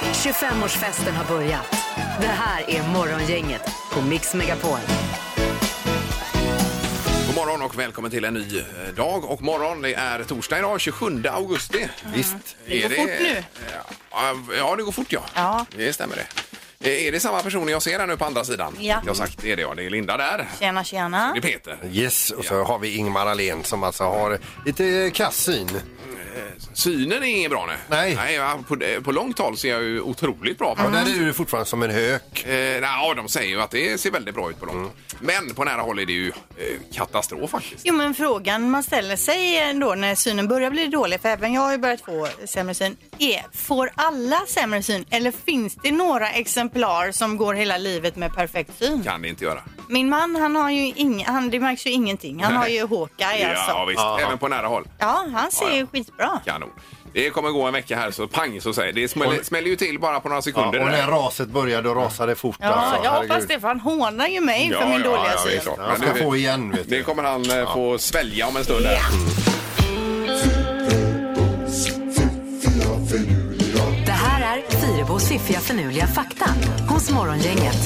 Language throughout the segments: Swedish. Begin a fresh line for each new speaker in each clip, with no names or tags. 25-årsfesten har börjat. Det här är Morgongänget på Mix Megapol.
God morgon och välkommen till en ny eh, dag och morgon. Det är torsdag idag, 27 augusti. Visst.
Det går fort nu.
nu. Ja, det går fort ja.
Ja.
Det stämmer det. Eh, Är det samma personer jag ser här nu på andra sidan?
Ja.
Jag har sagt det är det ja. Det är Linda där.
Tjena, tjena.
Det är Peter.
Yes, och så har vi Ingmar Ahlén som alltså har lite kassyn.
Synen är inget bra nu.
Nej.
ja, på, eh, på långt håll ser jag ju otroligt bra
Ja,
mm.
där är du fortfarande som en hök.
Eh, ja, de säger ju att det ser väldigt bra ut på långt håll. Men på nära håll är det ju eh, katastrof faktiskt.
Jo, men frågan man ställer sig ändå när synen börjar bli dålig, för även jag har ju börjat få sämre syn, är får alla sämre syn eller finns det några exemplar som går hela livet med perfekt syn?
Kan det inte göra.
Min man, han har ju ing, han, det märks ju ingenting. Han
Nej.
har ju Hawkeye
Ja,
alltså.
visst. Även på nära håll.
Ja, han
Ja,
ser
ja.
ju skitbra.
Kanon. Det kommer gå en vecka här så pang så säger det. smäller, smäller ju till bara på några
Ja,
sekunder.
och när
där.
raset började och rasade fort
Ja,
alltså.
jag hoppas
herregud.
det, för han hånar ju mig för min dåliga
ja, visst.
syn.
Han ska
Men nu-
få igen, vet
Det
du.
kommer han eh, få svälja om en stund. Där.
Det här är Fyrebos fiffiga förnuliga fakta hos Morgongänget.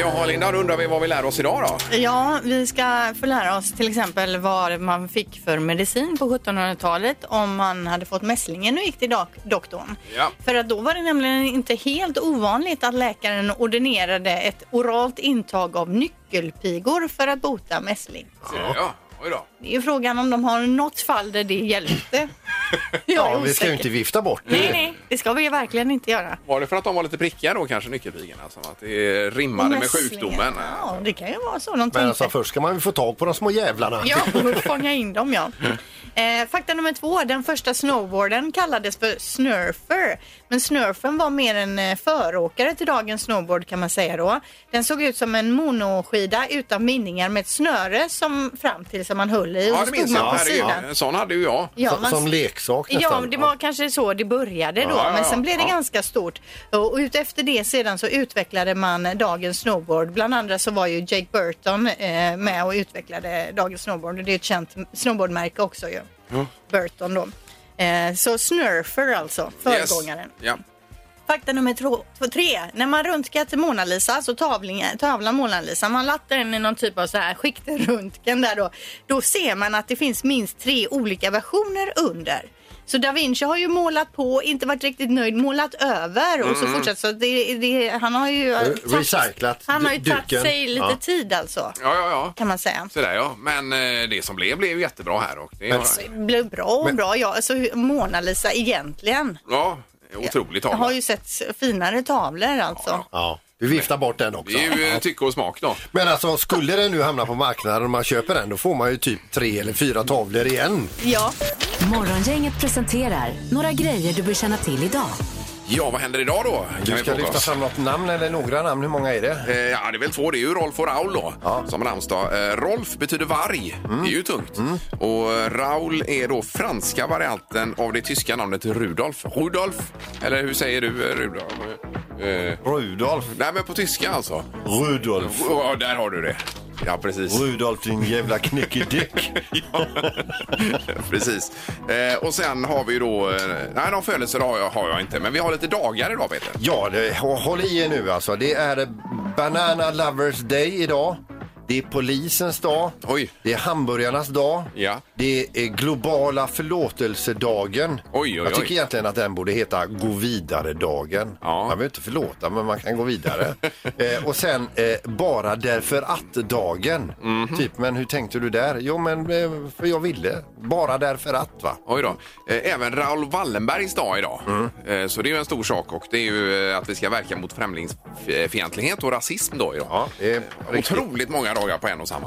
Jaha Linda, då undrar vi vad vi lär oss idag då?
Ja, vi ska få lära oss till exempel vad man fick för medicin på 1700-talet om man hade fått mässlingen och gick till dok- doktorn.
Ja.
För att då var det nämligen inte helt ovanligt att läkaren ordinerade ett oralt intag av nyckelpigor för att bota mässling.
Ja, oj då.
Det är ju frågan om de har något fall där det hjälpte. Jag är
Ja, vi ska ju
osäker.
inte vifta bort det.
Nej, nej, det ska vi verkligen inte göra.
Var det för att de var lite prickiga då kanske, nyckelpigorna? Som att det rimmade med
Mässlingen.
sjukdomen?
Ja, det kan ju vara så de tänkte.
Men alltså, först ska man ju få tag på de små jävlarna.
Ja, och fånga in dem ja. Eh, fakta nummer två, den första snowboarden kallades för snurfer. Men snurfen var mer en eh, föråkare till dagens snowboard kan man säga då. Den såg ut som en monoskida utan bindningar med ett snöre som fram till som man höll i och
Ja,
så
det
stod
minns
man
jag.
på
Herregud,
sidan.
En sån hade ju jag.
Ja,
som,
man-
som leksak
Ja,
nästan.
det var kanske så det började då,
Ja, ja,
men sen blev det
ja.
ganska stort. Och utefter det sedan så utvecklade man dagens snowboard. Bland andra så var ju Jake Burton eh, med och utvecklade dagens snowboard. Det är ett känt snowboardmärke också ju. Burton då. Eh, så Snurfer alltså,
Yes.
föregångaren.
Ja.
Fakta nummer tro- två- tre. När man röntgar till Mona Lisa, alltså tavlingen, tavlan Mona Lisa, man lattar den i någon typ av så här skiktröntgen där då. Då ser man att det finns minst tre olika versioner under. Så da Vinci har ju målat på, inte varit riktigt nöjd, målat över och så fortsatt. Så det, det, han har ju... eh, tagit-
Mm. recyclat
Han har ju
du-
tagit
duken.
sig lite
Ja.
tid alltså,
ja, ja, ja.
kan man säga.
Sådär ja. Men eh, det som blev blev ju jättebra här. Och det,
Men-
Det blev bra och
Men-
bra. Ja, alltså Mona Lisa egentligen.
ja, otroligt
Jag
tavla.
har ju sett finare tavlor alltså.
Ja, du viftar bort den också.
Det är ju eh, tycke och smak då.
Men alltså, skulle den nu hamna på marknaden och man köper den, då får man ju typ tre eller fyra tavlor igen.
Ja.
Morgongänget presenterar några grejer du bör känna till idag.
Ja, vad händer idag då? Kan
Du
vi
ska
fråga
lyfta
oss?
fram något namn eller några namn. Hur många är det?
Eh, Ja, det är väl två. Det är ju Rolf och Raul då, som namnsdag. Eh, Rolf betyder varg. Det är ju tungt.
Mm.
Och eh, Raul är då franska varianten av det tyska namnet Rudolf. Rudolf, eller hur säger du eh, Rudolf? Eh,
Rudolf.
nej, men på tyska alltså.
Rudolf.
Oh, där har du det. Ja, precis.
Rudolf din jävla knyckedick.
Ja, precis. Eh, och sen har vi ju då... Eh, nej, någon födelsedag har jag, har jag inte, men vi har lite dagar idag, Peter.
ja, det, hå- håll i er nu alltså. Det är Banana Lovers Day idag. Det är polisens dag.
Oj.
Det är hamburgarnas dag.
Ja.
Det är globala förlåtelsedagen.
oj,
Jag tycker
oj.
egentligen att den borde heta Gå vidare-dagen.
Ja.
Man behöver inte förlåta, men man kan gå vidare. eh, och sen eh, Bara därför att-dagen.
Mhm.
Typ, men hur tänkte du där? Jo, men eh, för jag ville. Bara därför att, va?
Oj då. Eh, Även Raoul Wallenbergs dag idag.
Mm.
Eh, Så det är ju en stor sak och det är ju eh, att vi ska verka mot främlingsfientlighet och rasism då idag.
Ja, det är riktigt.
Otroligt många dagar på en och samma.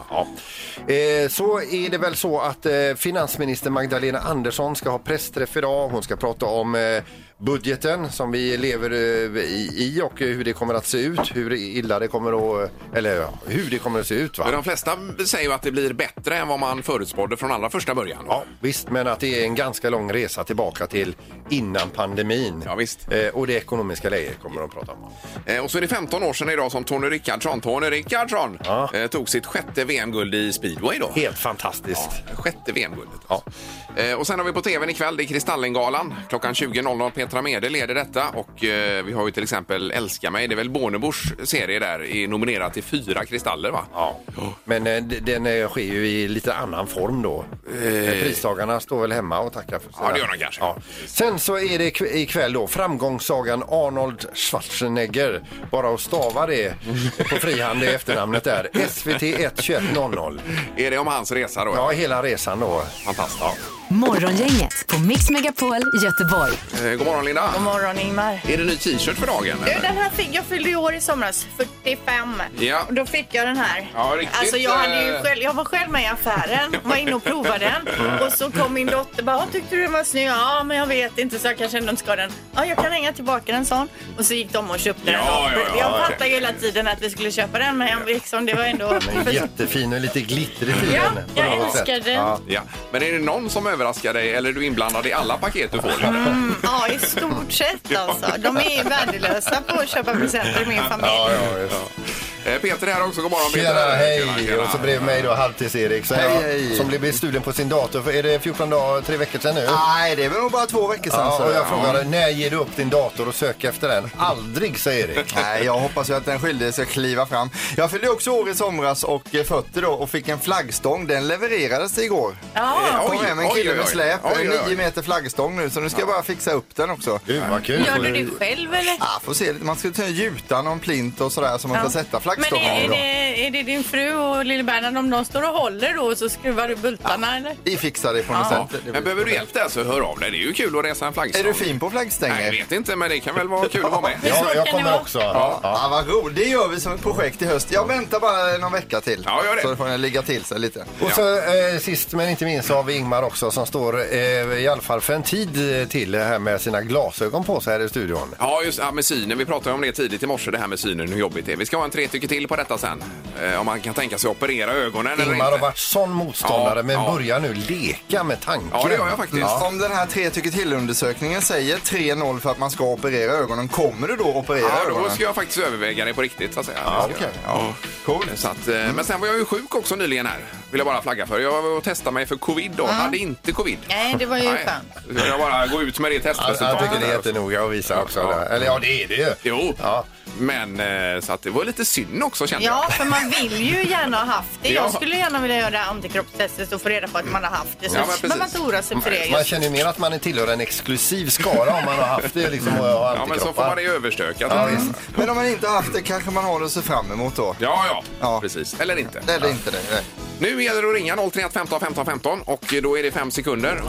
Eh, så är det väl så att eh, finansminister Magdalena Andersson ska ha pressträff idag. Hon ska prata om eh, budgeten som vi lever eh, i i och hur det kommer att se ut, hur illa det kommer att... eh, Eller ja, hur det kommer att se ut.
För
Va?
de flesta säger ju att det blir bättre än vad man förutspådde från allra första början.
Ja, visst, men att det är en ganska lång resa tillbaka till innan pandemin.
Ja, visst.
Eh, och det ekonomiska läget kommer de att prata om.
Eh, Och så är det 15 år sedan idag som Tony Rickardsson, Tony Rickardsson,
Ja.
eh, tog sitt sjätte VM-guld i speedway då.
Helt fantastiskt.
Sjätte VM-guldet. alltså. Eh, Och sen har vi på tvn ikväll, det är Kristallengalan. Klockan 20.00 Petra Mede leder detta och eh, vi har ju till exempel Älska mig, det är väl Bornebusch serie där, är nominerad till fyra kristaller va?
Ja. Men eh, d- den eh, sker ju i lite annan form då. Eh, Pristagarna står väl hemma och tackar för sina...
Ja, det gör de kanske.
Sen så är det kv- ikväll då framgångssagan Arnold Schwarzenegger. Bara att stava det på frihand i efternamnet där. SVT 12100.
Är det om hans resa då?
Ja, hela resan då.
Fantastiskt.
Morgongänget på Mix Megapol Göteborg.
Eh, God morgon Linda!
God morgon Ingmar.
Är det ny t-shirt för dagen?
Du,
eller?
Den här fick, jag fyllde ju år i somras, 45.
Ja.
Och då fick jag den här.
Ja, riktigt,
alltså jag, hade ju
eh,
själv, jag var själv med i affären, var inne och provade den. Och så kom min dotter bara, "Ah, tyckte du den var snygg? Ja, men jag vet inte så jag kanske ändå inte ska ha den. Ja, jag kan hänga tillbaka den sån. Och så gick de och köpte
Ja,
den. då.
ja, ja,
jag
okej.
fattade ju hela tiden att vi skulle köpa den, men jag, liksom, det var ändå...
Den är jättefin och lite glittrig i
Ja,
den, på
jag
något
älskar
sätt.
den.
Ja.
Ja. Men är det någon som överraskar dig eller är du inblandad i alla paket du får?
Mm, ja, i stort sett alltså. De är värdelösa på att köpa presenter i min familj.
Ja, just.
Eh, Peter är här också, god morgon Peter.
Tjena,
Tjena,
hej!
tjena.
Och så bredvid mig då Halvtids-Erik som,
Hej,
jag-
hej.
som blev bestulen på sin dator. För, är det 14 dagar, tre veckor sedan nu?
Nej, det är väl nog bara två veckor sedan.
Ja,
Alltså,
så-
och jag frågade när ger du upp din dator och söker efter den? Aldrig, säger Erik.
Nej, jag hoppas ju att den skyldige ska kliva fram. Jag fyllde också år i somras och eh, 40 då och fick en flaggstång. Den levererades igår.
Ja.
Jag
Oj,
kom hem en
oj,
kille
oj,
med
oj.
släp,
Oj, oj, oj.
9 meter flaggstång nu så nu ska jag bara fixa upp den också.
Gud, vad kul.
Gör du det själv eller?
Ah, får se lite. Man ska ta gjuta någon plint och sådär som man ska sätta
Men är,
flaggstången
är,
då.
det, är det din fru och lille Bernhard, om de står och håller då och så skruvar du bultarna eller?
Vi fixar det på något
Ja.
sätt. Det blir
Men behöver du
problem.
hjälp där så hör av dig. Det är ju kul att resa en
Är
flaggstång.
du fin på
Nej, jag
flaggstänger?
vet inte, men det kan väl vara kul att vara med.
Ja.
Ja, jag
Kan det
kommer
vara?
också.
Ja.
Ja.
Ah, vad roligt. Det gör vi som ett projekt i höst. Jag väntar bara någon vecka till.
Ja, gör det.
Så får den ligga till sig lite.
Och så eh, sist men inte minst så har vi Ingmar också som står eh, i alla fall för en tid eh, till här med sina glasögon på sig här i studion.
Ja, just ja, med synen. Vi pratade om det tidigt i morse, det här med synen, hur jobbigt det är. Vi ska ha en tre tycker till på detta sen. Eh, om man kan tänka sig att operera ögonen eller
Ingmar har
inte.
varit sån motståndare
Ja,
men
ja.
börjar nu leka med tanken.
Ja, det gör jag faktiskt. Ja.
Om den här tre tycker till-undersökningen säger 3-0 för att man ska operera ögonen, kommer du då operera
då
ögonen?
ska jag faktiskt överväga det på riktigt. Så att säga.
Ja,
Det ska
okej.
jag.
Ja. Coolt.
Så att, eh, Men sen var jag ju sjuk också nyligen här. Vill jag bara flagga för. Jag var och testade mig för covid då. Hade inte covid.
Nej, det var ju skönt.
Så Jag bara gå ut med det
Alltså, jag
testresultatet.
tycker det är
där.
jättenoga att visa också.
Ja.
det. Eller ja, det är det ju.
Jo,
Ja.
men eh, så att det var lite synd också kände
Ja, för man vill ju gärna ha haft det.
Ja.
Jag skulle gärna vilja göra antikroppstestet och få reda på att man har haft det. Så
Ja, men
men man
precis.
inte oroa sig för det.
Man
Just.
känner ju mer att man tillhör en exklusiv skara om man har haft det liksom, och har
jag. Ja, men så får
antikroppar.
man det överstökat.
Ja,
Ja,
visst.
Men om man inte haft det kanske man har det att se fram emot då?
ja, ja,
Ja.
precis. Eller inte.
Eller inte det? Nej.
Nu gäller det att ringa 031 15 15 15 och då är det fem sekunder.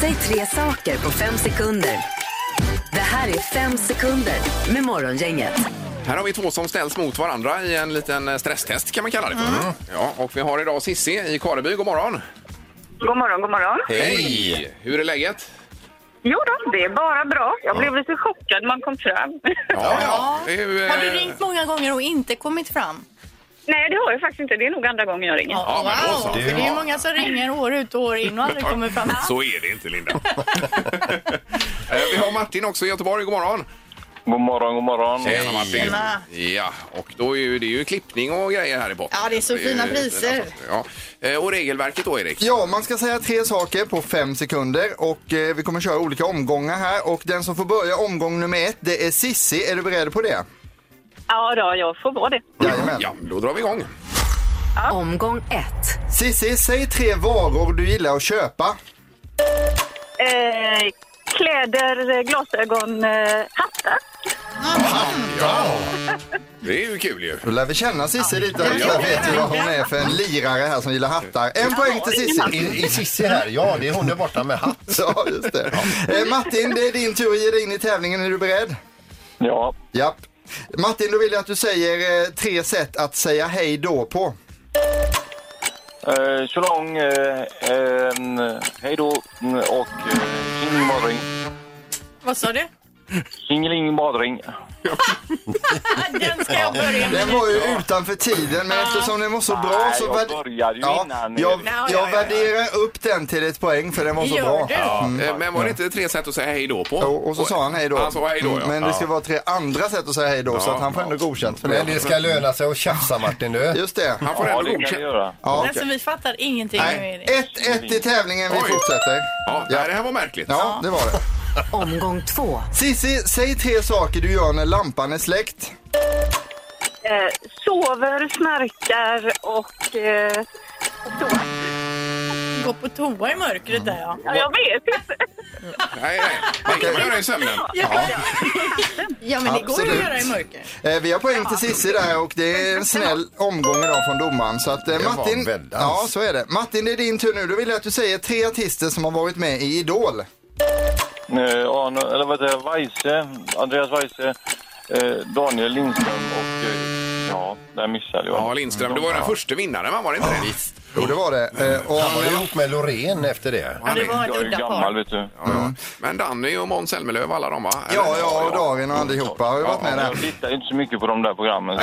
Säg tre saker på fem sekunder. Det här är fem sekunder med Morgongänget.
Här har vi två som ställs mot varandra i en liten eh, stresstest kan man kalla det för. Ja, och vi har idag Sissi i Kareby. God morgon!
God morgon, god morgon.
Hej! Hur är läget?
Jo då, det är bara bra. Jag blev lite chockad när man kom fram.
Ja, Hur, eh,
Har du ringt många gånger och inte kommit fram?
Nej, det har jag faktiskt inte. Det är nog andra gången jag ringer.
Ja, men då så.
wow! För det är ju många som ringer år ut och år in och aldrig kommer fram.
Så är det inte, Linda. Eh, vi har Martin också i Göteborg. God morgon!
God morgon, god morgon.
Tjena Martin!
Tjena.
Ja, och då är ju, det är ju klippning och grejer här i botten.
Ja, det är så
ju
fina
fina
priser.
saker, Ja. Eh, Och regelverket då, Erik?
Ja, man ska säga tre saker på fem sekunder och eh, vi kommer köra olika omgångar här och den som får börja omgång nummer ett det är Sissi. Är du beredd på det?
Ja, då, jag får vara det.
Jajamän.
Ja, då drar vi igång.
Omgång ett.
Sissi, säg tre varor du gillar att köpa.
Eh, kläder, eh, glasögon, eh, hattar.
Det är ju kul ju.
Då lär vi känna Sissi lite. Jag vet ju vad hon är för en lirare här som gillar hattar. En poäng till Sissi.
Är, är Cissi här? Ja, det är hon där borta med hatt.
Ja, just det. Eh, Martin, det är din tur att ge dig in i tävlingen. Är du beredd?
Ja,
Japp. Martin, då vill jag att du säger eh, tre sätt att säga hej då på.
eh, så lång, eh, Mm, eh, hej då mm, och eh, ingen morgon.
Vad sa du?
Tjingeling badring.
Den ska jag börja med.
Den var ju utanför tiden, men eftersom den var så bra
Nej,
så...
jag
värde-
började ju
ja,
innan.
eh.
eh,
Jag,
Ja, ja,
jag
ja.
värderar upp den till ett poäng för den var så
Gör
bra.
du?
Eh, Men var det inte tre sätt att säga hej då på?
Mm. Jo, Och så sa han hej då.
Han sa hej då,
Mm,
ja.
Men det ska vara tre andra sätt att säga hej då, så
Ja,
att han får ändå godkänt för
Men
det.
det ska löna sig att tjafsa Martin du.
Just det.
Han får
Ja,
ändå
det kan vi
godkänt.
göra.
Ja.
Alltså, vi fattar ingenting nu,
Nej,
Erik.
1-1 i tävlingen. Vi
Oj.
fortsätter.
Ja, nej, det här var märkligt.
Ja, det var det.
Omgång två.
Sissi, säg tre saker du gör när lampan är släckt.
Eh, sover, snarkar och... Eh, så.
Gå på toa i mörkret där, ja.
Ja, jag vet inte.
Nej, nej. Man kan göra det i sömnen.
Ja, ja men det går ju att
Absolut.
göra i mörker.
Eh, vi har poäng till Sissi där och det är en snäll omgång idag från domaren. Så att, eh,
Det var
Martin,
väldans.
ja, så är det. Martin, det är din tur nu. Då vill jag att du säger tre artister som har varit med i Idol.
Eh, Arne, eller vad heter det? Weise. Andreas Weise. Eh, Daniel Lindström och... Eh, ja, där missade jag.
Ja, Lindström, du var ju den första vinnaren, va? var det inte det?
Jo, det var det. Eh, och,
Han var ju ihop med Loreen efter det.
Ja, det var ett
Jag är ju
udda
gammal,
par.
vet du.
Ja, ja. Men Danny och Måns Zelmerlöw, alla de va? Eller?
ja, jag och Darin och allihopa har ju varit med
Jag
där.
tittar inte så mycket på de där programmen.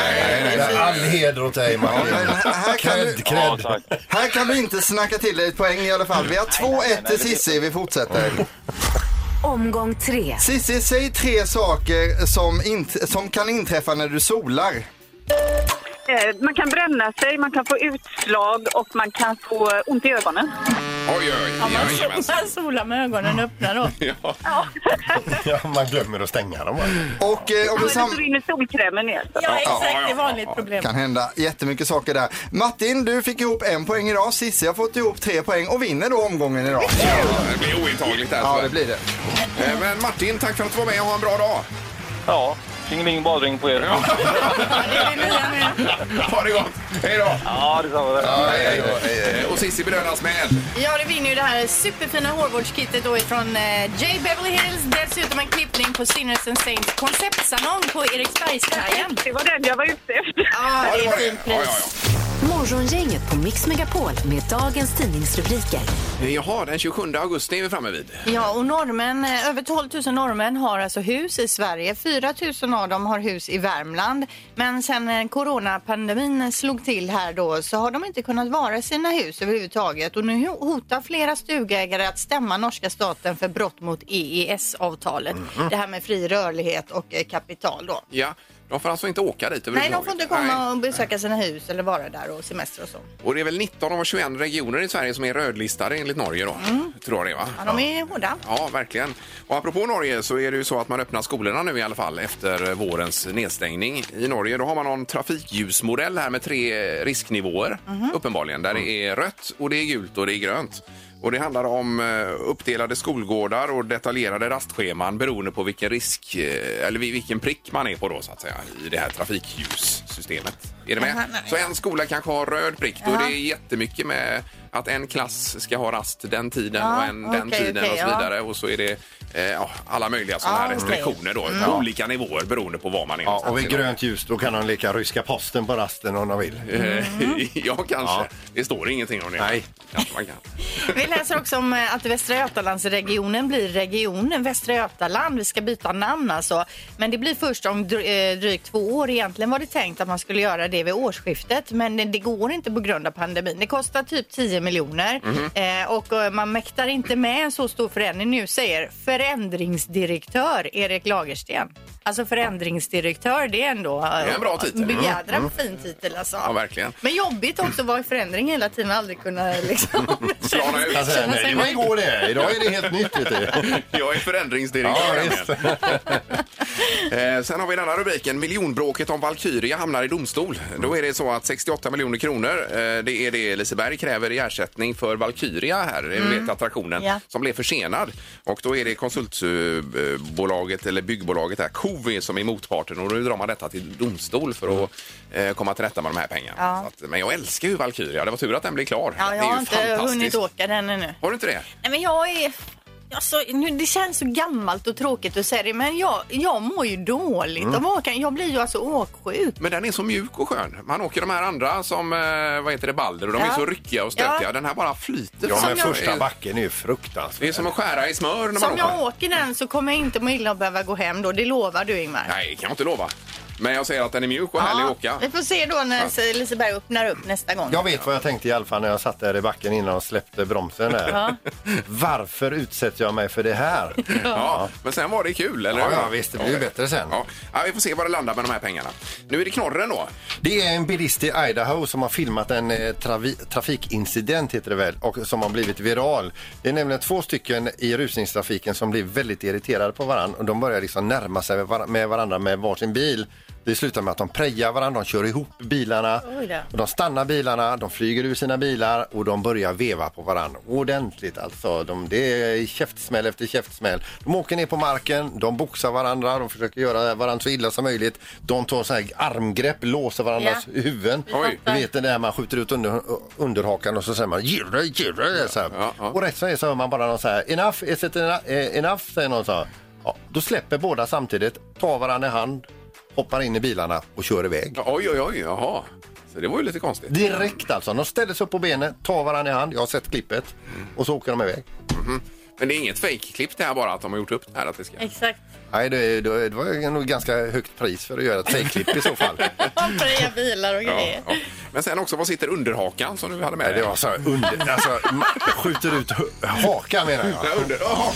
All heder åt dig
Ja,
Martin.
men här, kan du,
Cred,
Ja,
cred.
tack.
här kan du inte snacka till dig ett poäng i alla fall. Vi har 2-1 till Sissi. Vi fortsätter.
Omgång tre.
Sissi, säg tre saker som, int- som kan inträffa när du solar.
Eh, man kan bränna sig, man kan få utslag och man kan få eh, ont i ögonen.
Oj, oj,
Ja,
oj.
man,
Jajamensan.
man solar med ögonen öppna då.
Ja.
Ja, man glömmer att stänga dem. va?
Och eh, om
Ja,
du
det
sam-
försvinner solkrämen ner.
Ja, exakt. Det är
ja,
vanligt problem.
kan hända jättemycket saker där. Martin, du fick ihop en poäng idag. Sissi har fått ihop tre poäng och vinner då omgången idag.
Det blir ointagligt där.
Ja,
tyvärr.
det blir det.
Eh, Men Martin, tack för att du var med och ha en bra dag.
Ja, tjingeling badring på er. Ja,
Ha det gott. Hej då.
detsamma.
Eh, Och Cissi belönas med
Ja, det vinner ju det här superfina hårvårdskittet då ifrån eh, J Beverly Hills. Dessutom en klippning på Sinners and Saints konceptsalong på Eriksbergskajen.
Det var den jag var ute efter.
Ja,
Ja,
det är
var
fint
Ja, ja,
pris.
Morgongänget på Mix Megapol med dagens tidningsrubriker.
ja. Jaha, den 27 augusti är vi framme vid.
Ja, och norrmän, eh, över 12 000 norrmän har alltså hus i Sverige. 4 000 av dem har hus i Värmland. Men sen eh, coronapandemin slog till här då så har de inte kunnat vara i sina hus överhuvudtaget. Och nu ho- hotar flera stugägare att stämma norska staten för brott mot EES-avtalet. Det här med fri rörlighet och eh, kapital då.
Ja, de får alltså inte åka dit
Nej, de får inte komma
Nej.
och besöka sina hus eller vara där och semester och så.
Och det är väl 19 av 21 regioner i Sverige som är rödlistade enligt Norge då.
Mm.
Tror jag det va?
Ja, de är hårda.
Ja, verkligen. Och apropå Norge så är det ju så att man öppnar skolorna nu i alla fall efter vårens nedstängning. I Norge då har man någon trafikljusmodell här med tre risknivåer
Mhm.
uppenbarligen. Där det är rött och det är gult och det är grönt. Och det handlar om eh, uppdelade skolgårdar och detaljerade rastscheman beroende på vilken risk eh, eller vil- vilken prick man är på då så att säga i det här trafikljussystemet. Är du med?
Aha, nej.
Så en skola kanske har röd prick då är det jättemycket med att en klass ska ha rast den tiden
Ja,
och en den
okej,
tiden
okej,
och så
ja.
vidare. Och så är det eh, ja, alla möjliga sådana
Ja,
här
okej.
restriktioner då, på olika nivåer beroende på var man är.
Ja, och vid
någonstans.
grönt ljus då kan de leka ryska posten på rasten om de vill.
Eh, ja, kanske. Det står ingenting om det.
Nej.
Kanske man kan.
Vi läser också om eh, att Västra Götalandsregionen blir regionen Västra Götaland. Vi ska byta namn alltså. Men det blir först om dry- eh, drygt två år. Egentligen var det tänkt att man skulle göra det vid årsskiftet. Men det- det går inte på grund av pandemin. Det kostar typ 10 miljoner.
Mhm.
Eh, och eh, man mäktar inte med en så stor förändring nu, säger förändringsdirektör Erik Lagersten. Alltså förändringsdirektör, det är ändå... Det
är en bra titel. Mm.
Jädra fin titel alltså.
Ja, verkligen.
Men jobbigt också att vara i förändring hela tiden och aldrig kunna liksom...
Klara ut.
Han säger, nej, det var igår det. Idag är det helt nytt. Vet du.
Jag är förändringsdirektör.
Ja, visst.
Eh, Sen har vi den här rubriken. Miljonbråket om Valkyria hamnar i domstol. Då är det så att 68 miljoner kronor, eh, det är det Liseberg kräver i ersättning för Valkyria här, mm. vet attraktionen,
Ja.
som blev försenad. Och då är det konsultbolaget, eh, eller byggbolaget här, Covi som är motparten och nu drar man detta till domstol för att eh, komma till rätta med de här pengarna.
Ja.
Så att, men jag älskar ju Valkyria. Det var tur att den blev klar.
Ja,
Det
jag
är
har
ju
inte
fantastiskt.
hunnit åka den ännu.
Har du inte det?
Nej, men jag är... Alltså, nu, det känns så gammalt och tråkigt att säga det, men jag, jag mår ju dåligt
Mm.
av åkan. Jag blir ju alltså åksjuk.
Men den är så mjuk och skön. Man åker de här andra som, eh, vad heter det, Balder och de är
Ja.
så ryckiga och stötiga.
Ja.
Den här bara flyter.
Ja,
Som
men
jag-
första backen är ju
Det är
fruktansvärt.
som att skära i smör när man
Som jag åker den så kommer jag inte må illa och behöva gå hem då. Det lovar du Ingmar.
Nej, kan jag inte lova. Men jag säger att den är mjuk och härlig att åka.
Vi får se då när Liseberg öppnar upp nästa gång.
Jag vet vad jag tänkte i alla fall när jag satt där i backen innan de släppte bromsen där. Varför utsätter jag mig för det här?
Ja, men sen var det kul, eller
Ja,
hur?
ja, visst, det blir ju
Ja.
bättre sen.
Ja. Ja, vi får se var det landar med de här pengarna. Nu är det knorren då.
Det är en bilist i Idaho som har filmat en eh, travi- trafikincident heter det väl och som har blivit viral. Det är nämligen två stycken i rusningstrafiken som blir väldigt irriterade på varandra och de börjar liksom närma sig var- med varandra med varsin bil. Det slutar med att de prejar varandra, de kör ihop bilarna.
Oj då.
Och de stannar bilarna, de flyger ur sina bilar och de börjar veva på varandra ordentligt. Alltså, de, det är käftsmäll efter käftsmäll. De åker ner på marken, de boxar varandra, de försöker göra varandra så illa som möjligt. De tar så här armgrepp, låser varandras
Ja.
huvuden.
Oj.
Du vet det där man skjuter ut under, underhakan och så säger man girra, girra. Så här.
Ja, ja.
Och rätt som det är så hör man bara någon så här enough, is it enough, eh, enough säger någon så här. Ja, då släpper båda samtidigt, tar varandra i hand, hoppar in i bilarna och kör iväg.
Oj, oj, oj, jaha. Så det var ju lite konstigt.
Direkt alltså. De ställer sig upp på benen, tar varandra i hand. Jag har sett klippet. Och så åker de iväg.
Men det är inget fake-klipp det här bara, att de har gjort upp det här. Att det ska...
Exakt.
Nej, det, det, det var nog ganska högt pris för att göra ett fejkklipp i så fall.
Fria bilar och
Ja,
grejer.
ja. Men sen också, vad sitter underhakan som du hade med
Nej,
dig?
det var så här under... Alltså, man skjuter ut hu- hakan menar jag.
Ja, under- Jaha.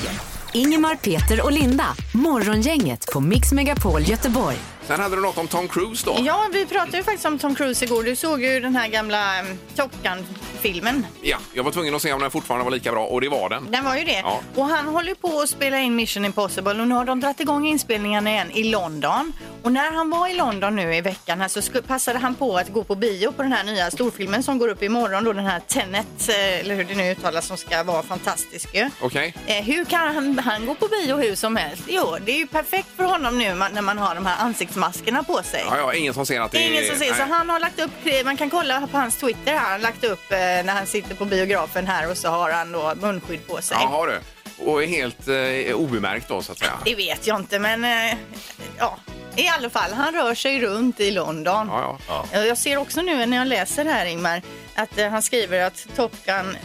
Ingemar, Peter och Linda. Morgongänget på Mix Megapol Göteborg.
Sen hade du något om Tom Cruise då.
Ja, vi pratade ju faktiskt om Tom Cruise igår. Du såg ju den här gamla mm, Top Gun-filmen.
Ja, jag var tvungen att se om den fortfarande var lika bra och det var den.
Den var ju det.
Ja.
Och han håller på att spela in Mission Impossible och nu har de dragit igång inspelningarna igen i London. Och när han var i London nu i veckan här så sku- passade han på att gå på bio på den här nya storfilmen som går upp imorgon då den här Tenet, eh, eller hur det nu uttalas, som ska vara fantastisk ju.
Okej?
Eh, hur kan han, han gå på bio hur som helst? Jo, det är ju perfekt för honom nu ma- när man har de här ansiktsmaskerna på sig.
Ja, ja, ingen som ser att det
Det är ingen som ser, så
nej.
han har lagt upp, man kan kolla på hans Twitter här, han har lagt upp eh, när han sitter på biografen här och så har han då munskydd på sig.
Jaha du. Och är helt eh, obemärkt då så att säga.
Det vet jag inte, men eh, ja. I alla fall, han rör sig runt i London.
Ja, ja.
Eh, Jag ser också nu när jag läser här, Ingmar, att eh, han skriver att Top Gun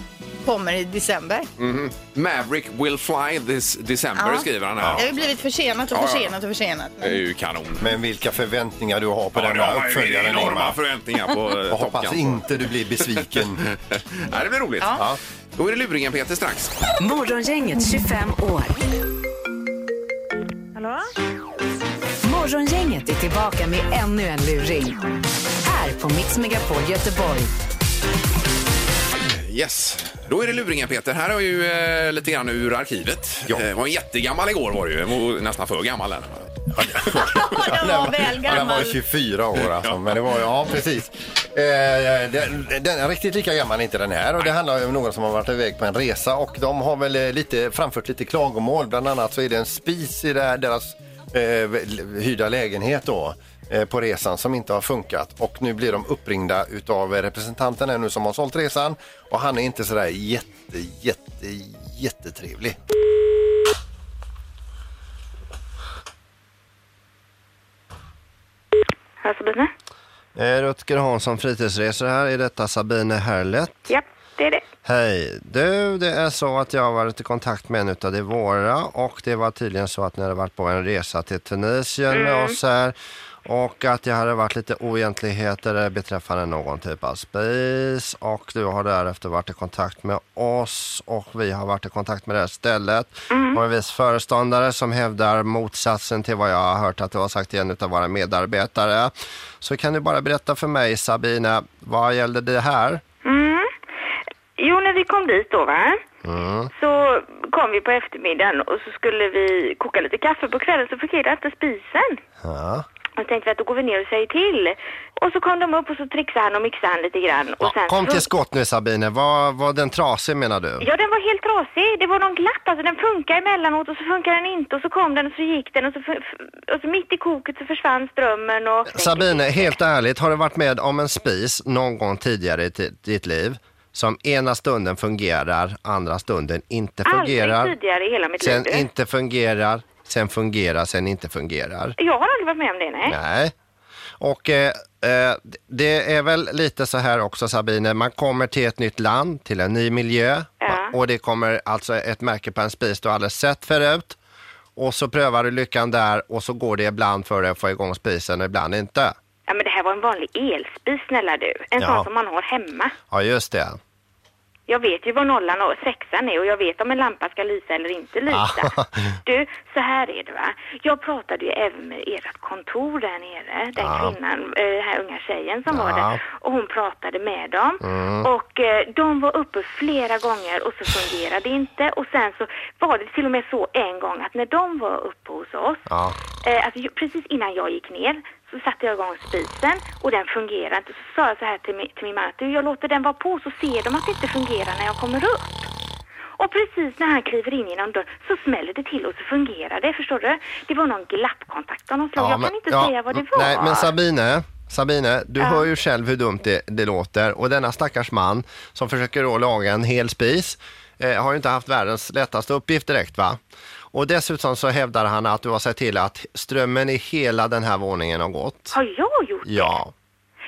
kommer i december.
Mhm. Maverick will fly this December
Ja.
skriver han
Det har
här.
ju blivit försenat och
Ja, ja.
försenat och försenat.
Det är
Men...
ju kanon.
Men vilka förväntningar du har på
Ja,
den
det
här
har ju
uppföljaren.
enorma
Ingmar.
förväntningar på eh,
Jag
Top
hoppas
Gun.
inte du blir besviken.
Nej, det blir roligt.
Ja.
Ja.
Då är det luringen Peter strax.
Morgongänget 25 år.
Hallå?
Morgongänget är tillbaka med ännu en luring. Här på Mix Megapol Göteborg.
Yes. Då är det luringen Peter. Här har ju eh, lite grann ur arkivet.
Ja.
Eh, var en jättegammal igår var det ju. Den var Nästan för gammal. Den.
Ja, den var väl
Ja, den var
gammal.
ju 24 år alltså, men det var ju, ja precis. Eh, den, den är riktigt lika gammal är inte den här och det handlar ju om någon som har varit iväg på en resa och de har väl eh, lite, framfört lite klagomål. Bland annat så är det en spis i det här, deras eh, hyrda lägenhet då eh, på resan som inte har funkat och nu blir de uppringda utav representanten här nu som har sålt resan och han är inte sådär jätte, jätte, jättetrevlig.
Hör Sabine?
Eh, Rutger Hansson fritidsresor här. Är detta Sabine Herlet?
Ja, det är det.
Hej. Du, det är så att jag har varit i kontakt med en utav de våra och det var tydligen så att ni hade varit på en resa till Tunisien med oss här och att det hade varit lite oegentligheter beträffande någon typ av spis och du har därefter varit i kontakt med oss och vi har varit i kontakt med det här stället och en viss föreståndare som hävdar motsatsen till vad jag har hört att du har sagt till en utav våra medarbetare. Så kan du bara berätta för mig Sabina, vad gällde det här?
Mm. Jo, när vi kom dit då va? Så kom vi på eftermiddagen och så skulle vi koka lite kaffe på kvällen så fungerade inte spisen.
Ja.
Och så tänkte vi att då går vi ner och säger till. Och så kom de upp och så trixade han och mixade han lite grann. Och
Ja,
sen
kom
så-
till skott nu Sabine, var, var den trasig menar du?
Ja, den var helt trasig. Det var någon glapp. Alltså, den funkar emellanåt och så funkar den inte. Och så kom den och så gick den och så, fu- f- och så mitt i koket så försvann strömmen och...
Sabine, helt ärligt, har du varit med om en spis någon gång tidigare i ti- ditt liv
som ena stunden fungerar, andra stunden inte fungerar.
Aldrig tidigare i hela mitt liv.
Sen
du.
inte fungerar, sen fungerar, sen inte fungerar.
Jag har aldrig varit med om det, nej.
Nej. Och eh, eh, det är väl lite så här också Sabine, man kommer till ett nytt land, till en ny miljö
Ja.
och det kommer alltså ett märke på en spis du aldrig sett förut. Och så prövar du lyckan där och så går det ibland för dig att få igång spisen och ibland inte.
Ja, men det här var en vanlig elspis, snälla du. En
Ja.
sån som man har hemma.
Ja just det.
Jag vet ju vad nollan och sexan är och jag vet om en lampa ska lysa eller inte lysa.
Ah.
Du, så här är det va. Jag pratade ju även med ert kontor där nere, den
Ja.
kvinnan, eh, den här unga tjejen som var
Ja. Mm.
där. Och hon pratade med dem. Och eh, de var uppe flera gånger och så fungerade det inte. Och sen så var det till och med så en gång att när de var uppe hos oss,
Ja.
eh, alltså, ju- precis innan jag gick ner, så satte jag igång spisen och den fungerade inte. Så sa jag så här till min, till min man att "Du, jag låter den vara på så ser de att det inte fungerar när jag kommer upp. Och precis när han kliver in genom dörren så smäller det till och så fungerar det, förstår du? Det var någon glappkontakt av något slag.
Ja,
jag
men-
kan inte
ja,
säga vad det
mm,
var.
Nej, men Sabine, Sabine du hör ju själv hur dumt det, det låter. Och denna stackars man som försöker då laga en hel spis eh, har ju inte haft världens lättaste uppgift direkt va? Och dessutom så hävdar han att du har sett till att strömmen i hela den här våningen har gått.
Har jag gjort
Ja,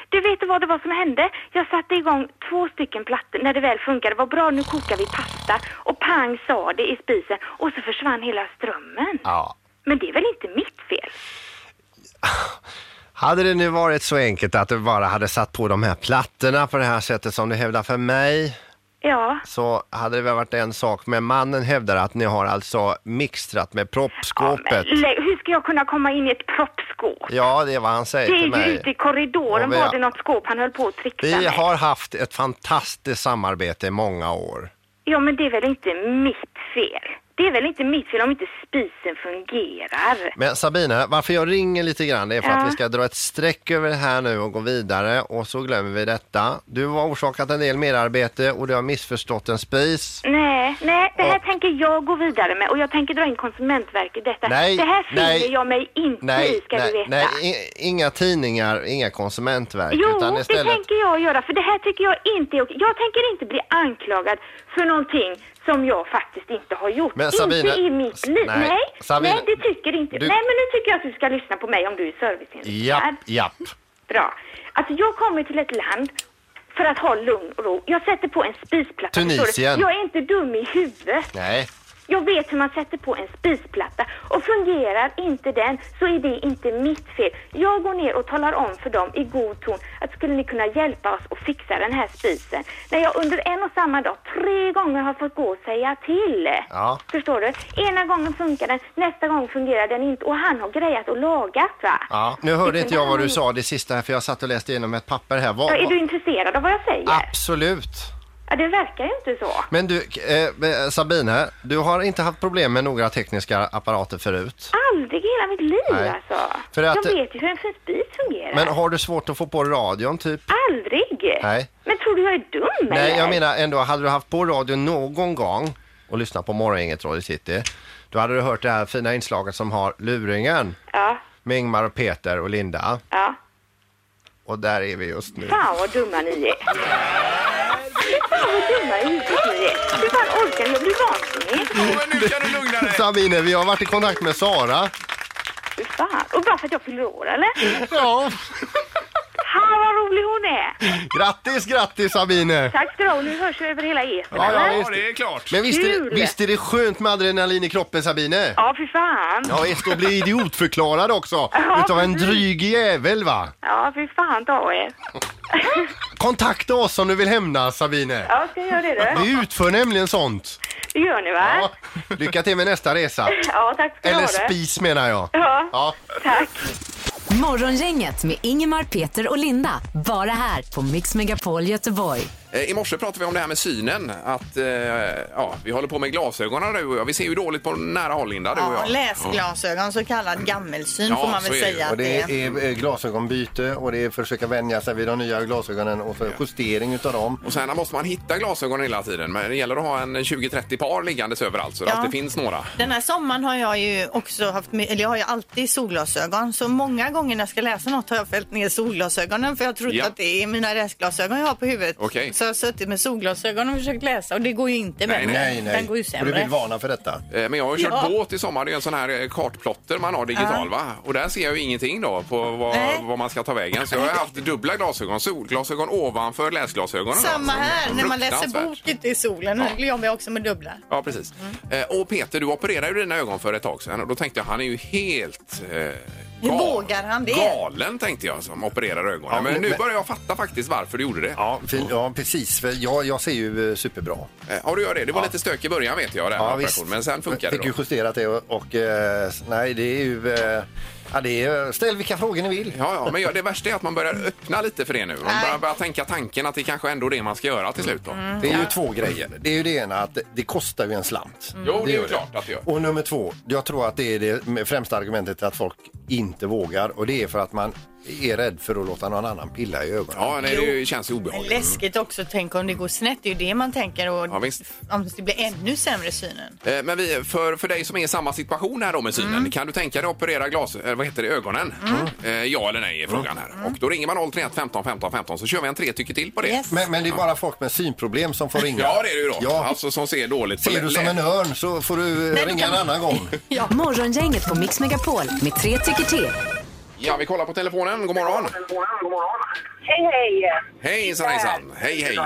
Du vet vad det var som hände? Jag satte igång två stycken plattor när det väl funkade. Vad bra, nu kokar vi pasta. Och pang sa det i spisen och så försvann hela strömmen.
ja.
Men det är väl inte mitt fel?
Hade det nu varit så enkelt att du bara hade satt på de här plattorna på det här sättet som du hävdar för mig
Ja,
så hade det väl varit en sak. Men mannen hävdar att ni har alltså mixtrat med proppskåpet.
men lä- hur ska jag kunna komma in i ett proppskåp?
Ja, det är vad han säger
Det är
till
ju
mig.
ute i korridoren
Och vi-
var det något skåp han höll på att trixa
Vi
med.
har haft ett fantastiskt samarbete i många år.
Ja, men det är väl inte mitt fel? Det är väl inte mitt fel om inte spisen fungerar?
Men Sabina, varför jag ringer lite grann det är för
Ja.
att vi ska dra ett streck över det här nu och gå vidare och så glömmer vi detta. Du har orsakat en del merarbete och du har missförstått en spis.
Nej, nej, det här
Och-
tänker jag gå vidare med och jag tänker dra in Konsumentverket i detta.
Nej,
det här finner
nej,
jag mig inte i,
Nej,
ska du
nej,
veta.
nej, i- inga tidningar, inga konsumentverk.
Jo,
utan
det
istället...
tänker jag göra, för det här tycker jag inte är okej. Jag tänker inte bli anklagad för någonting som jag faktiskt inte har gjort.
Men Sabine-
inte i mitt liv.
Nej,
Nej,
Sabine,
nej, det tycker inte
du-
Nej, men nu tycker jag att du ska lyssna på mig om du är serviceinriktad.
Japp, japp.
Bra. Alltså, jag kommer till ett land för att ha lugn och ro. Jag sätter på en spisplatta. förstår du?
Tunisien.
Jag är inte dum i huvudet.
Nej.
Jag vet hur man sätter på en spisplatta och fungerar inte den så är det inte mitt fel. Jag går ner och talar om för dem i god ton att skulle ni kunna hjälpa oss att fixa den här spisen? När jag under en och samma dag tre gånger har fått gå och säga till.
Ja.
Förstår du? Ena gången funkar den, nästa gång fungerar den inte och han har grejat och lagat va?
Ja. Nu hörde inte jag vad du sa det sista här för jag satt och läste igenom ett papper här. Vad-
Ja, är
vad-
du intresserad av vad jag säger?
Absolut.
Ja, det verkar ju inte så.
Men du, eh, Sabine, du har inte haft problem med några tekniska apparater förut.
Aldrig i hela mitt liv
Nej.
alltså.
För att-
Jag vet ju hur en spis fungerar.
Men har du svårt att få på radion typ?
Aldrig!
Nej.
Men tror du jag är dum
Nej,
eller?
jag menar ändå, hade du haft på radion någon gång och lyssnat på Morgongänget Radio City, då hade du hört det här fina inslaget som har luringen
Ja,
med Ingmar och Peter och Linda.
ja.
Och där är vi just nu.
Fan vad dumma ni är. Fy fan vad dumma i huvudet ni är. Hur fan orkar ni? Jag blir vansinnig.
Ja, men nu kan du lugna dig.
Sabine, vi har varit i kontakt med Sara.
Fy fan. Och bara för att jag fyller år eller?
Ja,
Ha vad rolig hon är.
grattis, grattis Sabine!
Tack ska du ha. Och Nu hörs vi över hela etern
Ja, ja,
eller?
visst.
Ja, det är klart.
Men visst är, det,
Kul.
visst är det skönt med adrenalin i kroppen Sabine?
Ja, fy fan.
Ja, visst, och bli idiotförklarad också
Ja,
utav en
precis.
dryg jävel va?
Ja, fy fan ta er.
Kontakta oss om du vill hämnas Sabine.
Ja, ska jag göra det du?
Vi utför nämligen sånt.
Det gör ni va?
Ja. Lycka till med nästa resa.
Ja, tack ska du ha
Eller
det.
spis menar jag.
Ja.
Ja.
Tack.
Morgongänget med Ingemar, Peter och Linda. Bara här på Mix Megapol Göteborg.
Eh, I morse pratade vi om det här med synen. Att, eh, ja, vi håller på med glasögonen du och jag. Vi ser ju dåligt på nära håll, Linda, du och
Ja,
jag.
läsglasögon, så kallad gammelsyn
Ja,
får man
så
väl
är det ju.
säga
Och
att
det
det är.
är eh, glasögonbyte och det är försöka vänja sig vid de nya glasögonen och så justering utav dem.
Och sen måste man hitta glasögon hela tiden. Men det gäller att ha en 20-30 par liggandes överallt så det
Ja.
alltid finns några.
Den här sommaren har jag ju också haft, med- eller jag har ju alltid solglasögon. Så många gånger när jag ska läsa något har jag fällt ner solglasögonen för jag trodde
Ja.
att det är mina resglasögon jag har på huvudet.
Okej.
också har suttit med solglasögon och försökt läsa och det går ju inte
Nej,
bättre.
Nej, nej.
Den går ju
Och du vill
sämre.
varna för detta.
Eh, Men jag har ju kört
Ja.
båt i sommar. Det är en sån här eh, kartplotter man har digital va? Och där ser jag ju ingenting då på
Nej.
vad, vad man ska ta vägen. Så jag har ju haft dubbla glasögon. Solglasögon ovanför läsglasögonen.
Samma
alltså.
här, när man läser
Fruktansvärt.
bok ute i solen. Nu jobbar jag också med dubbla.
Ja, precis. Eh, Och Peter, du opererade ju dina ögon för ett tag sedan och då tänkte jag han är ju helt... Eh, gal-
vågar han det?
Galen tänkte jag som opererar ögonen.
Ja,
men
men-
nu börjar jag fatta faktiskt varför du gjorde det. Ja,
Ja, fin, ja precis. För jag, jag ser ju eh, superbra.
ja du gör det. Det var lite stök i början vet jag, den här operationen. Men sen funkade
Fick
det.
ju
Då.
justerat det och, och eh, nej, det är ju... Eh, ja, det är, ställ vilka frågor ni vill.
Ja, ja, men jag- det värsta är att man börjar öppna lite för det nu. Man
Nej. Mm.
börjar, börjar tänka tanken att det kanske ändå är det man ska göra till slut. Då.
Det är ju två grejer. Det är ju det ena att det kostar ju en slant.
Jo, det är ju klart att det gör.
Och nummer två, jag tror att det är det främsta argumentet att folk inte vågar och det är för att man är rädd för att låta någon annan pilla i ögonen.
Ja, nej, det känns ju
Men
obehagligt.
läskigt också, tänk om det går snett. Det är ju det man tänker. Och
Ja, visst.
Om det blir ännu sämre synen.
Eh, Men vi, för, för dig som är i samma situation här då med synen, kan du tänka dig att operera glas, eh, vad heter det, ögonen? Eh, Ja eller nej är frågan här. Och då ringer man 031 15 15 15 så kör vi en tre tycker till på det.
Yes.
Men, men det är bara folk med synproblem som får ringa.
Ja det är det ju då.
Ja.
Alltså som ser dåligt. på
Ser du
lä-
som en örn så får du eh,
Nej, det
ringa
kan
en annan gång.
Morgongänget på Mix Megapol med tre tycker till.
Ja vi kollar på telefonen, god morgon.
Hej, hej!
Hejsan hejsan. Hej hej.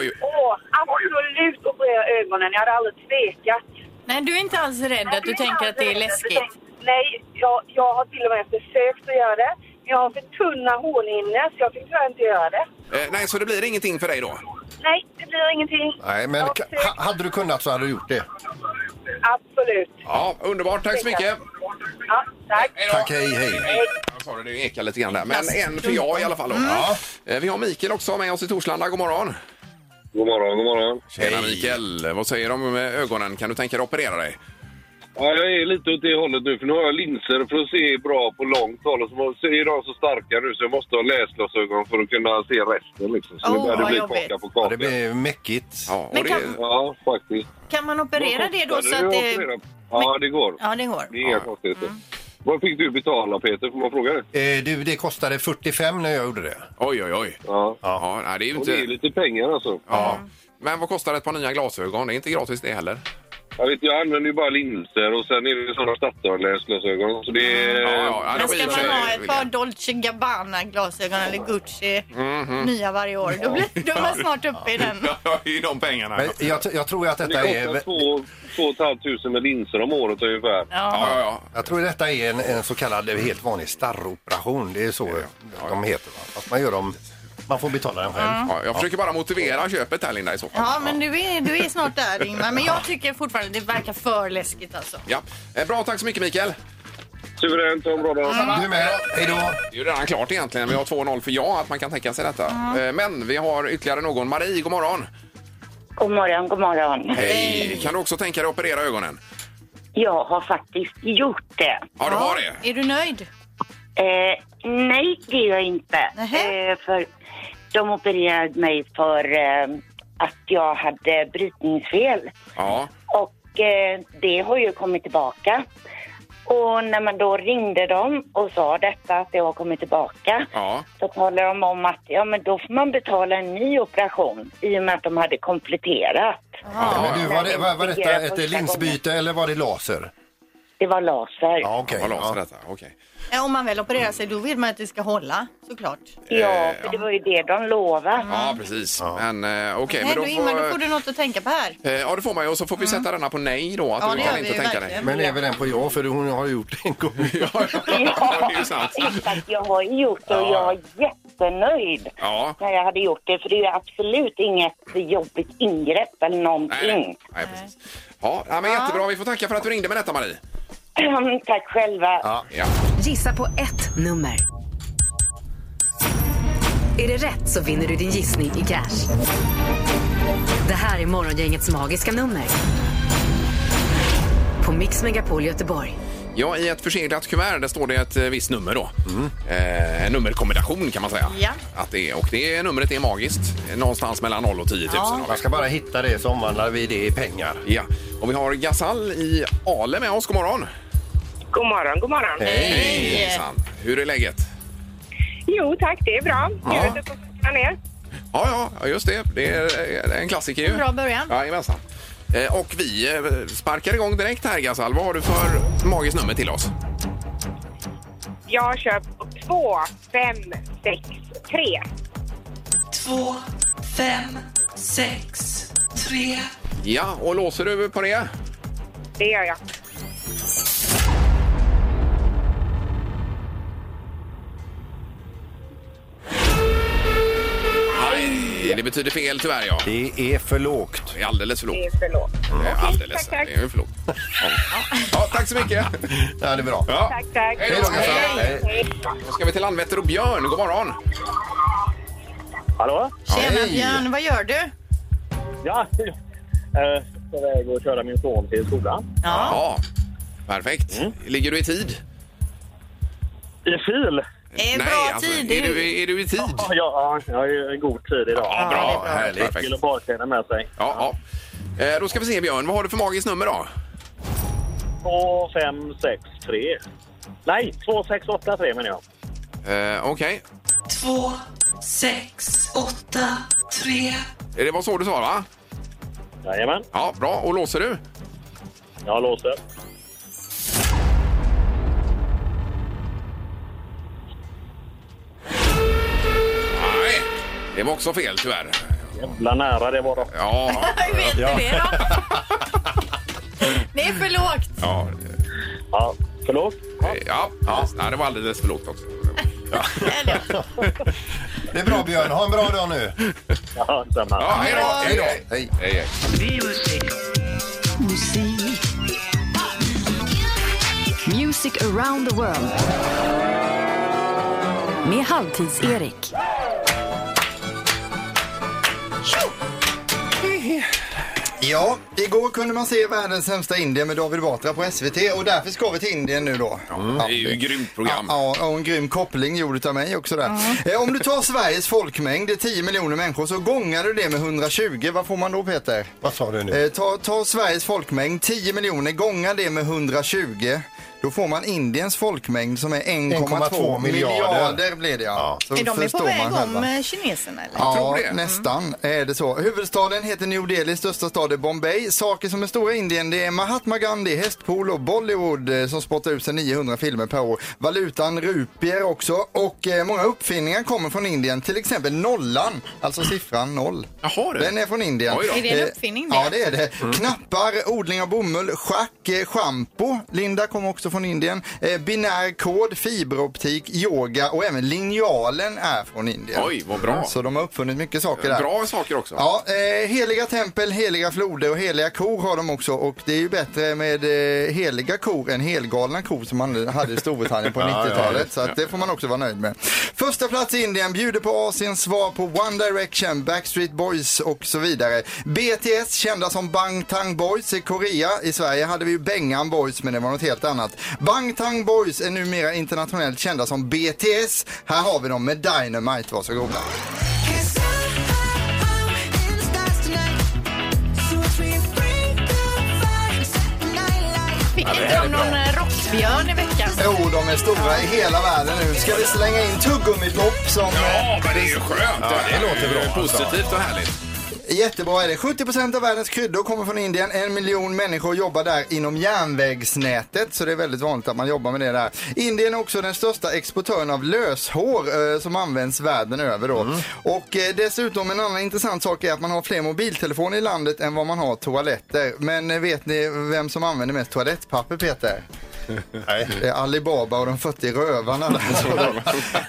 Oj,
Åh, absolut operera ögonen. Jag hade aldrig tvekat.
Nej, du är inte alls rädd att du tänker att det är läskigt.
Nej, jag, jag har till och med försökt att göra det. Men jag har för tunna hornhinnor så jag fick tyvärr inte göra det.
eh, nej så det blir ingenting för dig då?
Nej, det blir ingenting.
Nej, men
Jag
ka-
försökte.
ha- hade du kunnat så hade du gjort det.
Absolut.
Ja, underbart. Tack så mycket.
Ja, tack.
Hej då.
Tack, hej, hej.
Jag sa det, det ekar lite grann där. Men en för jag i alla fall. Då. Eh, Vi har Mikael också med oss i Torslanda. God morgon.
God morgon, god morgon.
Tjena Mikael! Vad säger de om ögonen? Kan du tänka dig att operera dig?
Ja, jag är lite åt det hållet nu, för nu har jag linser för att se bra på långt håll. Och så så är de så starka nu så jag måste ha läsglasögon för att kunna se resten. Liksom. Så
Åh,
det, det
vad
blir
jobbigt.
kaka på
Ja,
kaka.
det blir mäckigt.
Ja, och
Men
det,
kan-
Ja, faktiskt.
Kan man operera
Vad
det då
kostar
så att det...
operera? Ja, det går.
Ja, det går.
Det är inga konstigheter. Vad fick du betala, Peter? Får man fråga det?
Eh, du, det kostade 45 när jag gjorde det.
Oj, oj, oj.
Ja.
Ja, nej, det är ju
Och det är
inte...
lite pengar alltså.
Ja. Men vad kostar ett par nya glasögon? Det är inte gratis det heller.
Jag, vet, jag använder ju bara linser och sen är det sådana statörläsglasögon. Så det är...
Ja, ja, ja, det
Men
var i
ska
och för
man
sig-
ha ett par Dolce Gabbana-glasögon eller Gucci nya varje år, då, blir, då är man snart uppe i den.
Mhm. Ja, i de pengarna.
Men Eh, jag, t- jag tror att
Det
detta
kostar
är...
två, två och ett halvt tusen med linser om året ungefär.
Ja, ja, ja.
Jag tror detta är en, en så kallad helt vanlig starroperation. Det är så de heter. Va? Fast man gör dem... Man får betala den själv.
Ja, jag försöker bara motivera köpet här, Linda, i så fall.
Ja, men du är, du är snart där Ingmar. Men jag tycker fortfarande det verkar för läskigt alltså.
Ja. Eh, Bra, tack så mycket, Mikael.
Suveränt, ha en bra dag.
Du med. Hej då.
Det är ju redan klart egentligen. Vi har 2-0 för ja, att man kan tänka sig detta. Eh, Men vi har ytterligare någon. Marie, god morgon.
God morgon, god morgon.
Hej! Kan du också tänka dig att operera ögonen?
Jag har faktiskt gjort det.
Ja, du har det.
Är du nöjd?
Eh, nej, det gör jag inte.
Nähä.
Eh, för de opererade mig för eh, att jag hade brytningsfel.
Ja.
Och eh, det har ju kommit tillbaka. Och när man då ringde dem och sa detta, att det har kommit tillbaka,
Ja.
så talade de om att ja, men då får man betala en ny operation i och med att de hade kompletterat.
Men du, var, det, var, var detta
Fungerar
ett
första
linsbyte eller var det laser?
Det var laser.
Ja, okej.
Vad låser
Ja.
detta? Okej.
Ja, Om man väl opererar sig då vill man att det ska hålla såklart.
Ja,
Eh,
för det var ju det de lovade.
Ja, precis. Men eh, okej,
Nej
men då
du Ingmar, då får
får...
du något att tänka på här.
Eh, Ja, det får man ju. Och så får vi sätta denna på nej då. Att
Ja,
du
det
kan
gör vi
inte
ju
tänka dig.
verkligen.
Men även den på jag, för hon har gjort det en gång.
Ja, ja, ja, det är ju sant.
Exakt, jag har ju gjort det och jag är jättenöjd
Ja.
när jag hade gjort det. För det är ju absolut inget jobbigt ingrepp eller
Nej, nej.
Mm.
någonting.
nej precis. Ja, ja, men jättebra. Vi får tacka för att du ringde med detta, Marie.
Tack själva.
Ja.
Gissa på ett nummer. Är det rätt så vinner du din gissning i cash. Det här är Morgongängets magiska nummer. På Mix Megapol Göteborg.
ja, i ett förseglat kuvert där står det ett eh, visst nummer då. Eh, en nummerkombination kan man säga.
Ja.
Att det är, och det numret är magiskt. Eh, Någonstans mellan 0 och 10 000. har vi.
Man ska bara hitta det så omvandlar vi det i pengar.
Ja. Och vi har Gasall i Ale med oss. God morgon!
God morgon, god morgon.
Hej! Hejsan. Hur är läget?
Jo tack, det är bra. Ljudet upp och ner.
Ja, ja, ja, just det. Det är en klassiker ju.
En bra början.
Jajamensan. Eh, Och vi eh, sparkar igång direkt här, Gasal. Vad har du för magiskt nummer till oss?
Jag kör två, fem, sex, tre.
två, fem, sex, tre.
Ja, och låser du på det?
Det gör jag.
Nej, det betyder fel tyvärr, ja.
Det är för lågt.
Det är alldeles för
Det
lågt.
är för lågt.
Det är alldeles.
tack, tack.
Det är ju för lågt. Ja. Ja, tack så mycket.
Ja, det är bra.
Ja.
Tack, tack.
Hej då, Gasal.
Hej, hej.
Då ska vi till Landvetter och Björn. God morgon.
Hallå?
Tjena
Hej.
Björn, vad gör du?
Ja, jag ska iväg och köra min son till skolan.
Ja.
Ja, perfekt. Ligger du i tid?
I fil?
Det är bra tid.
alltså, Är du, är du i tid?
Ja, ja, jag har ju en god tid idag.
Ja,
Ja,
bra.
det är bra.
Härligt.
Till
Perfekt.
och bartendern med sig.
Ja, ja. Eh, Då ska vi se, Björn. Vad har du för magiskt nummer då?
2, 5, 6, 3. Nej, 2, 6, 8, 3 menar jag.
Eh, Okej.
Två, sex, åtta, tre.
Det var så du sa, va?
Jajamän,
Ja, bra. Och låser du?
jag låser.
Nej, det var också fel tyvärr.
Jävla nära det var då.
Ja,
Hur vet du det då? Det är för lågt.
ja,
Ja, förlåt.
ja, ja. Nej, det var alldeles för lågt också.
Eller,
Det är bra, Björn. Ha en bra dag nu.
Ja, detsamma.
Ja, hej då! Hej då!
Hej.
Hej, hej.
Music around the world. Med Halvtids-Erik.
Ja, igår kunde man se Världens sämsta Indien med David Batra på SVT och därför ska vi till Indien nu då.
Det är ju ett grymt program.
Ja, ja, och en grym koppling gjord av mig också där. Eh, Om du tar Sveriges folkmängd, det är 10 miljoner människor, så gångar du det med 120. Vad får man då Peter?
Vad sa du nu?
Eh, ta, ta Sveriges folkmängd, 10 miljoner, gånga det med 120. Då får man Indiens folkmängd som är 1,2
1,2 miljarder.
miljarder blir det ja. Så
är de på
förstår man
väg om
själva.
eh, kineserna eller?
Ja,
tror det.
nästan är det så. Huvudstaden heter New Delhi, största stad är Bombay. Saker som är stora i Indien det är Mahatma Gandhi, hästpool och Bollywood eh, som spottar ut sig 900 filmer per år. Valutan rupier också och eh, många uppfinningar kommer från Indien, till exempel nollan, alltså siffran noll.
Jaha, du.
Den är från Indien.
Oj då.
Är det en
Eh,
uppfinning, det?
Ja, det är det. Knappar, odling av bomull, schack, eh, schampo. Linda kommer också från Indien. Eh, Binär kod, fiberoptik, yoga och även linjalen är från Indien.
Oj, vad bra.
Så de har uppfunnit mycket saker där.
Bra saker också.
Ja, eh, heliga tempel, heliga floder och heliga kor har de också och det är ju bättre med eh, heliga kor än helgalna kor som man hade i Storbritannien på 90-talet så att det får man också vara nöjd med. Första plats i Indien bjuder på Asiens svar på One Direction, Backstreet Boys och så vidare. BTS, kända som Bangtan Boys i Korea. I Sverige hade vi ju Bengan Boys men det var något helt annat. Bangtan Boys är numera internationellt kända som BTS. Här har vi dem med Dynamite, varsågoda.
Fick inte de någon eh, rockbjörn i veckan?
Jo, de är stora i hela världen nu. Ska vi slänga in tuggummipopp som...
Ja, men det är ju skönt.
det låter bra,
Eh, Positivt och härligt.
eh, Jättebra är det. 70 av världens kryddor kommer från Indien. En miljon människor jobbar där inom järnvägsnätet. Så det är väldigt vanligt att man jobbar med det där. Indien är också den största exportören av löshår eh, som används världen över då. Och eh, dessutom en annan intressant sak är att man har fler mobiltelefoner i landet än vad man har toaletter. Men eh, vet ni vem som använder mest toalettpapper Peter?
Nej.
Det är Alibaba och de 40 rövarna. Där, så de.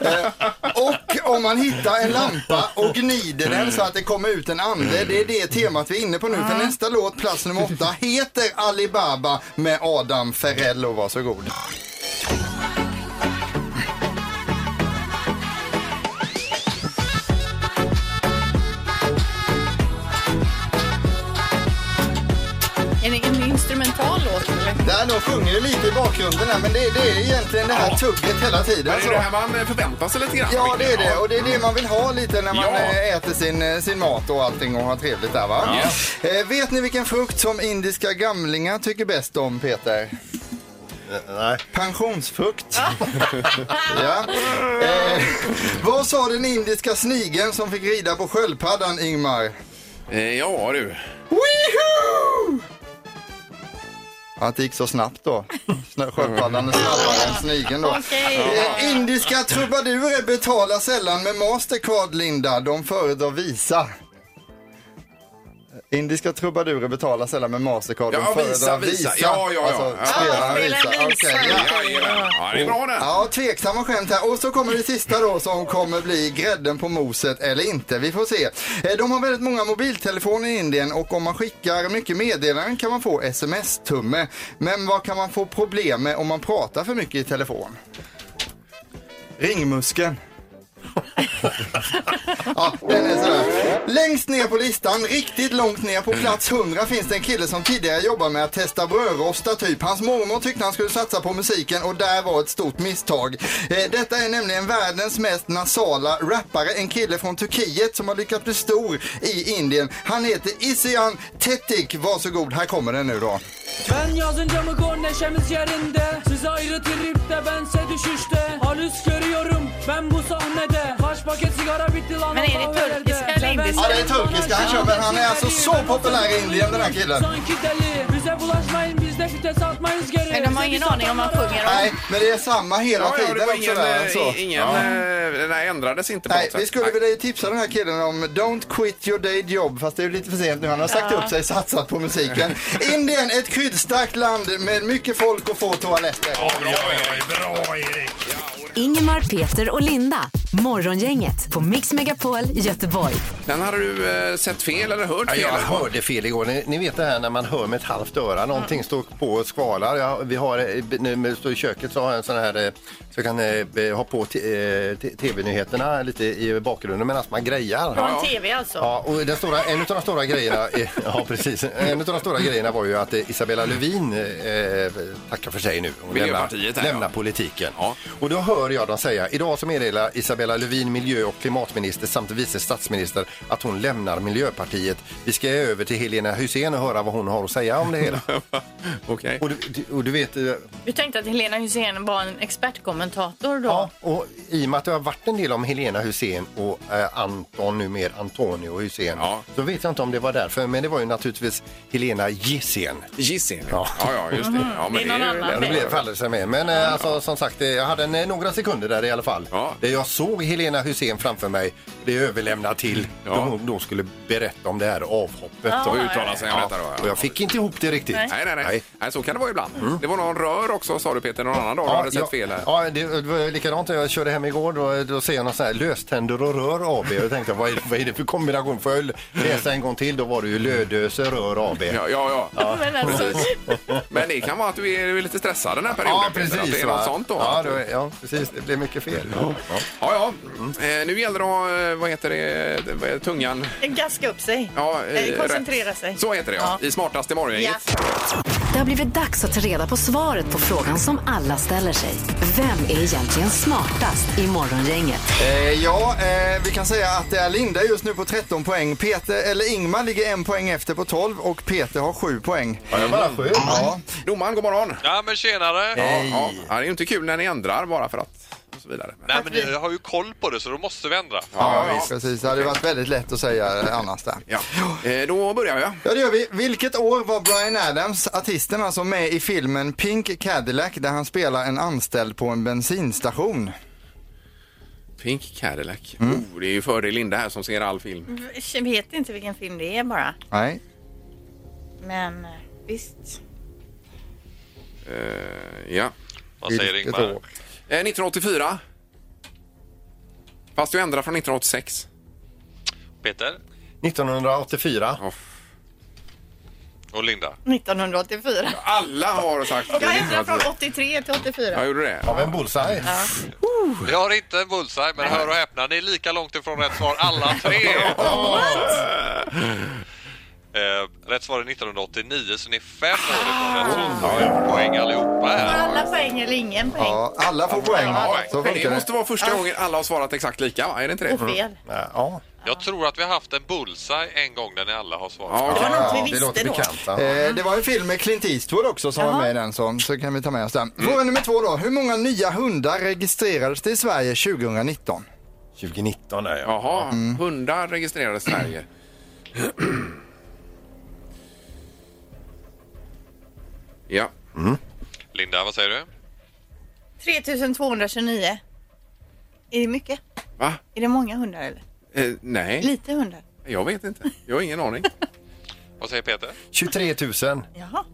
Eh, och om man hittar en lampa och gnider den så att det kommer ut en ande.
Mm.
Det är det temat vi är inne på nu. För nästa låt, plats nummer åtta, heter Alibaba med Adam Ferrello. Varsågod.
Är det en instrumental låt eller?
Där, de sjunger ju lite i bakgrunden här, men det, det är egentligen det här tugget hela tiden.
Men är
så.
det här man eh, förväntar sig lite grann?
Ja, det är det.
Ja.
Och det är det man vill ha lite när man
Ja.
eh, äter sin, eh, sin mat och allting och har trevligt där va? Eh, vet ni vilken frukt som indiska gamlingar tycker bäst om Peter?
Nej.
Pensionsfukt. ja. eh, vad sa den indiska snigeln som fick rida på sköldpaddan, Ingmar?
Eh, ja du.
Weehoo! Att det gick så snabbt då. Snö- Sköldpaddan är snabbare än snigeln då.
Okej.
Eh, indiska trubadurer betalar sällan med Mastercard, Linda. De föredrar Visa. Eh, Indiska trubadurer betalar sällan med Mastercard. De
Ja,
föredrar
visa, visa. Ja, ja, ja.
Alltså,
Ja,
spelaren
spela
Visa.
Visa.
Okej,
Jajamän. Ja, det är bra det.
Ja, tveksamma skämt här. Och så kommer det sista då som kommer bli grädden på moset eller inte. Vi får se. Eh, De har väldigt många mobiltelefoner i Indien och om man skickar mycket meddelanden kan man få sms-tumme. Men vad kan man få problem med om man pratar för mycket i telefon? Ringmuskeln. ja, den är sådär. Längst ner på listan, riktigt långt ner på plats 100 finns det en kille som tidigare jobbade med att testa brödrosta typ. Hans mormor tyckte han skulle satsa på musiken och där var ett stort misstag. Eh, Detta är nämligen världens mest nasala rappare, en kille från Turkiet som har lyckats bli stor i Indien. Han heter Isian Tetik. Varsågod, här kommer den nu då.
Ben yazınca mı gol neşemiz yerinde Siz ayrı tripte bense düşüşte Halüs görüyorum ben bu sahnede Kaç paket sigara bitti lan
Men är det
Allah verir de.
turkiska eller indiska?
Ja, det är turkiska han kör, men han är alltså så populär i Indien den här killen.
Sanki deli bize bulaşmayın bizde fites atmayız geri
Men de har ingen aning om vad de sjunger om.
Nej, men det är samma hela
Ja, ja,
tiden
det var
också
ingen,
där,
eh,
alltså.
ingen,
Ja.
eh, den här ändrades inte på
Nej,
något sätt.
vi skulle vilja tipsa den här killen om Don't quit your day job, fast det är ju lite för sent nu. Han har sagt
Ja.
upp sig, satsat på musiken. Indien, ett kryddstarkt land med mycket folk och få toaletter.
Bra, Erik! Ingemar, Peter och Linda. Morgongänget på Mix Megapol Göteborg.
Den hade du eh, sett fel eller hört fel?
Ja, jag
eller vad?
hörde fel igår. Ni, ni vet det här när man hör med ett halvt öra. Någonting står på och skvalar. Jag, vi har, eh, b- nu när vi står i köket så har jag en sån här eh, så jag kan eh, b- ha på t- eh, t- tv-nyheterna lite i bakgrunden medan man grejar.
Från tv alltså?
Ja, och den stora, en av de stora grejerna, är- ja, precis. En av de stora grejerna var ju att eh, Isabella Lövin eh, tackar för sig nu. Hon
Miljöpartiet här, ja.
lämnar politiken. Och då hör jag dem säga, idag så meddelar Isabella Lövin, miljö och klimatminister samt vice statsminister att hon lämnar Miljöpartiet. Vi ska över till Helena Hussein och höra vad hon har att säga om det hela.
okay.
och, du, du- och du vet, eh,
Du tänkte att Helena Hussein var en expertkommentator då?
Och i och med att det har varit en del om Helena Hussein och eh, Anton, numer Antonio Hussein, så vet jag inte om det var därför, men det var ju naturligtvis Helena Gissén.
Gissén,
ja.
Ja, ja, just det. Mhm. Ja, men Det är det är någon ju- annan.
det blev fallelse med. Men eh, alltså, som sagt, eh, jag hade en, eh, några sekunder där i alla fall, där jag såg Helena Hussein framför mig bli överlämnad till, då hon då skulle berätta om det här avhoppet.
Ja, Och uttala sig om detta då, ja.
Och jag fick inte ihop det riktigt.
Nej, nej, nej. nej. så kan det vara ibland. Det var någon rör också sa du Peter, någon annan dag. du hade sett
jag,
fel här.
Ja, det var likadant när jag körde hem igår. Då, då ser jag någon sån här löständer och rör AB. Jag tänkte, vad är, vad är det för kombination? Får jag läsa en gång till? Då var det ju Lödöse rör AB.
Ja, ja, ja.
Men alltså,
Men det kan vara att du är, du är lite stressad den här perioden.
Ja,
Peter, att
precis,
det är
va?
något sånt då.
Ja,
att du-
det, ja, precis. Det blev mycket fel. Ja.
ja. ja. Eh, nu gäller det att, eh, vad heter det, eh, vad är det, tungan?
Gaska upp sig.
Ja, eh,
Eh, Koncentrera
rätt.
sig.
Så heter det ja. I smartaste morgongänget.
Det har blivit dags att ta reda på svaret på frågan som alla ställer sig. Vem är egentligen smartast i Morgongänget?
Eh, ja, eh, vi kan säga att det är Linda just nu på 13 poäng. Peter, eller Ingmar ligger en poäng efter på 12 och Peter har 7 poäng.
Ja, jag bara sju.
Ja.
Domaren, god morgon.
Ja, men tjenare!
Ja, ja. ja, det är ju inte kul när ni ändrar bara för att och så vidare.
Nej, men ni har ju koll på det så då måste vi ändra.
Ja, precis. Det hade varit väldigt lätt att säga annars där.
Ja. Eh, Då börjar jag.
Ja, det gör vi. Vilket år var Bryan Adams, artisten alltså, med i filmen Pink Cadillac där han spelar en anställd på en bensinstation?
Pink Cadillac. Oh, det är ju fördel Linda här som ser all film.
Jag vet inte vilken film det är bara.
Nej.
Men eh, visst.
Eh, ja.
Vad säger Vilket Ingmar? år?
Eh, 1984. Fast du ändrar från 1986.
Peter
1984.
och Linda.
1984.
Alla har sagt
Jag ändrar från 83 till 84.
gjorde det.
Av en bullseye.
Vi har inte en bullseye, men hör och häpna, ni är lika långt ifrån rätt svar alla tre. Eh, rätt svar är 1989, så ni är fem år ifrån rätt svar. Så vi har poäng allihopa
Får
här.
alla poäng eller ingen poäng?
Ja, alla får poäng.
Ja,
Så
men
funkar
det
det.
Mm.
måste vara första gången alla har svarat exakt lika, va? Är det inte det?
Och fel.
Ja.
Jag tror att vi har haft en bullseye en gång där ni alla har svarat.
Eh, det var en film med Clint Eastwood också som var med i den, så, så kan vi ta med oss den.
Mm.
Fråga nummer två då. Hur många nya hundar registrerades det i Sverige 2019?
2019 där ja.
Jaha, hundar registrerades i Sverige. ja.
Linda, vad säger du?
3229. Är det mycket?
Va?
Är det många hundar eller?
Eh, nej,
Lite hundar?
jag vet inte. Jag har ingen aning.
Vad säger Peter?
23 000.
Jaha.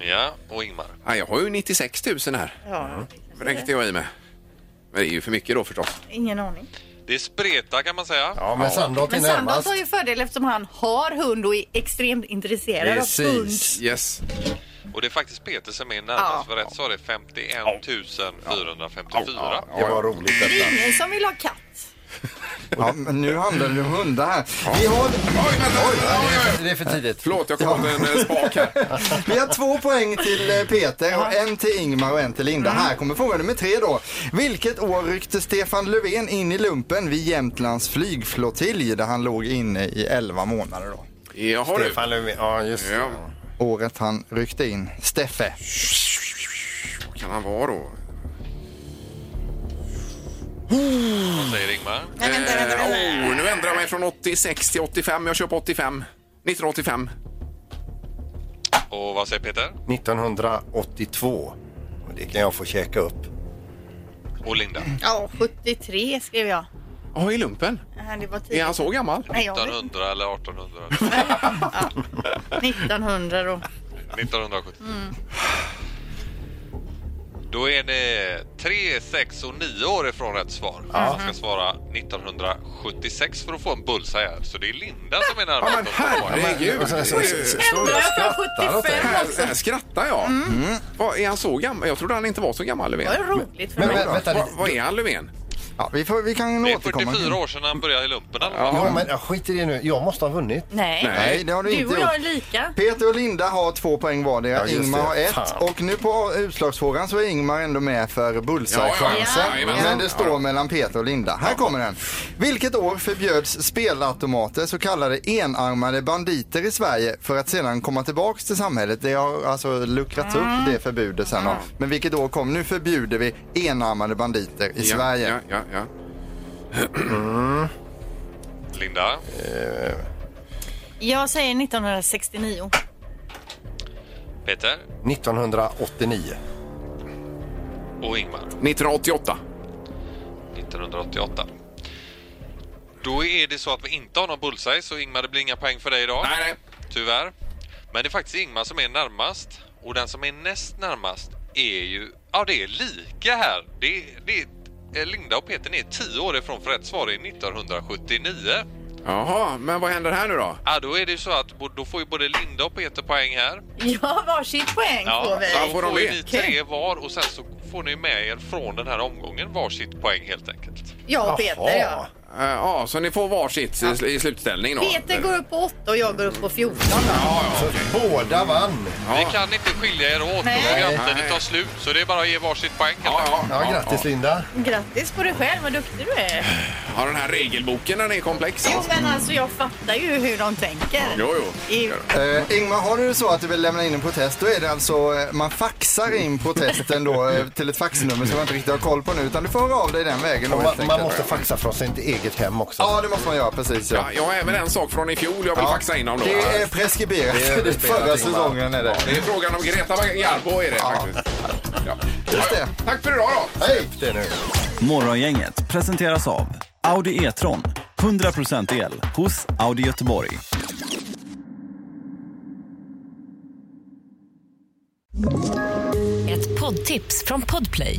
Ja, och Ingmar.
Ja, jag har ju 96 000 här.
Ja,
Räckte jag i med. Men det är ju för mycket då förstås.
ingen aning.
Det spretar kan man säga.
Ja, men Sandholt
Men Sandholt har ju fördel eftersom han har hund och är extremt intresserad av hund.
Yes.
Och det är faktiskt Peter som är närmast. För rätt svar är 51 454.
Det var roligt detta.
Ingen som vill ha katt.
Ja, men nu handlar det om hundar här. Vi har...
Det är för tidigt.
Förlåt, jag kom av med en eh, spak här.
Vi har två poäng till eh, Peter och en till Ingmar och en till Linda. Här kommer fråga nummer tre då. Vilket år ryckte Stefan Löfven in i lumpen vid Jämtlands flygflottilj där han låg inne i 11 månader då?
Jaha du.
Stefan Löfven. Ja, just det.
Ja,
Året han ryckte in. Steffe.
vad kan han vara då?
Vad säger Ingmar?
Nej, vänta,
Eh,
vänta, vänta.
oh, nu ändrar jag mig från 86 till 85. Jag kör på 85. 1985.
Och vad säger Peter?
1982. Och det kan jag få käka upp.
Och Linda?
Ja, 73 skrev jag.
Ja, i lumpen.
Nej, Det var
Är
tidigt.
han så gammal?
Nej, jag vet
1900 eller 1800?
inte. 1900 då.
1970.
Mm.
Då är det 3, 6 och 9 år ifrån rätt svar. Jag
Mm.
ska svara 1976 för att få en bullseye här. Så det är Linda som är närmast.
Ja, men herregud.
Men- alltså,
Så- så- så-
Ändå jag från 75
Här,
också. Mm.
här skrattar jag. Mm. Vad, är han så gammal? Jag trodde han inte var så gammal, Löfven.
Det var roligt för
Men
mig.
vä- vänta
Vad,
lite.
vad är han, Löfven?
Ja, vi, får, vi kan
Det är
återkomma.
44 år sedan han började i lumpen. eller?
Ja, men ja, skit i det nu. Jag måste ha vunnit.
Nej,
Nej, det har du,
du
inte
och jag är
gjort.
lika.
Peter och Linda har två poäng vardera.
Ja, just
Ingmar har
det.
ett.
Fan.
Och nu på utslagsfrågan så är Ingmar ändå med för
Ja,
bullseye-chansen.
ja, ja, ja, ja.
Men det står mellan Peter och Linda. Här kommer den. Vilket år förbjöds spelautomater, så kallade enarmade banditer i Sverige för att sedan komma tillbaks till samhället? Det har alltså luckrats
Mm.
upp, det förbudet sen. då. Men vilket år kom? Nu förbjuder vi enarmade banditer i
Ja,
Sverige.
Ja, ja, ja.
Linda?
Jag säger 1969.
Peter?
1989.
Och Ingmar?
1988.
1988. Då är det så att vi inte har någon bullseye, så Ingmar det blir inga poäng för dig idag.
Nej, nej.
Tyvärr. Men det är faktiskt Ingmar som är närmast. Och den som är näst närmast är ju... Ja, det är lika här. Det, det, eh, Linda och Peter ni är 10 år ifrån för rätt svar är 1979.
Jaha, men vad händer här nu då?
Ja, då är det ju så att bo- då får ju både Linda och Peter poäng här.
Ja, varsitt poäng får vi.
då
får de
får ju
det?
ni tre var och sen så får ni med er från den här omgången varsitt poäng helt enkelt.
Jag och Peter, ja.
Eh, Ja, så ni får varsitt i sl- i slutställning då?
Peter går upp på 8 och jag går upp på 14.
Så båda vann.
Ni kan inte skilja er åt,
Nej.
då programtiden
Nej.
tar slut. Så det är bara att ge varsitt poäng. helt
Ja,
enkelt.
ja,
Ja, grattis Linda.
Grattis på dig själv, vad duktig du är.
ja, den här regelboken den är komplex.
Jo,
alltså.
men alltså jag fattar ju hur de tänker.
Jo,
I-
jo.
Eh, Ingmar, har du det så att du vill lämna in en protest, då är det alltså, eh, man faxar in protesten då eh, till ett faxnummer som man inte riktigt har koll på nu, utan du får höra av dig den vägen då
Och
helt
man, man
enkelt.
måste faxa från sitt eget hem också.
Ja, det måste man göra, precis ja.
Ja, jag har även en sak från i fjol jag vill
Ja,
faxa in om då.
Det är preskriberat,
Det är
det är förra
preskriberat, Ingmar.
säsongen är det.
Det är frågan om Greta Garbo är det faktiskt. Ja.
Just det.
Tack för idag då!
Hej! Det nu.
Morgongänget presenteras av Audi E-tron. 100% el hos Audi Göteborg.
Ett poddtips från Podplay.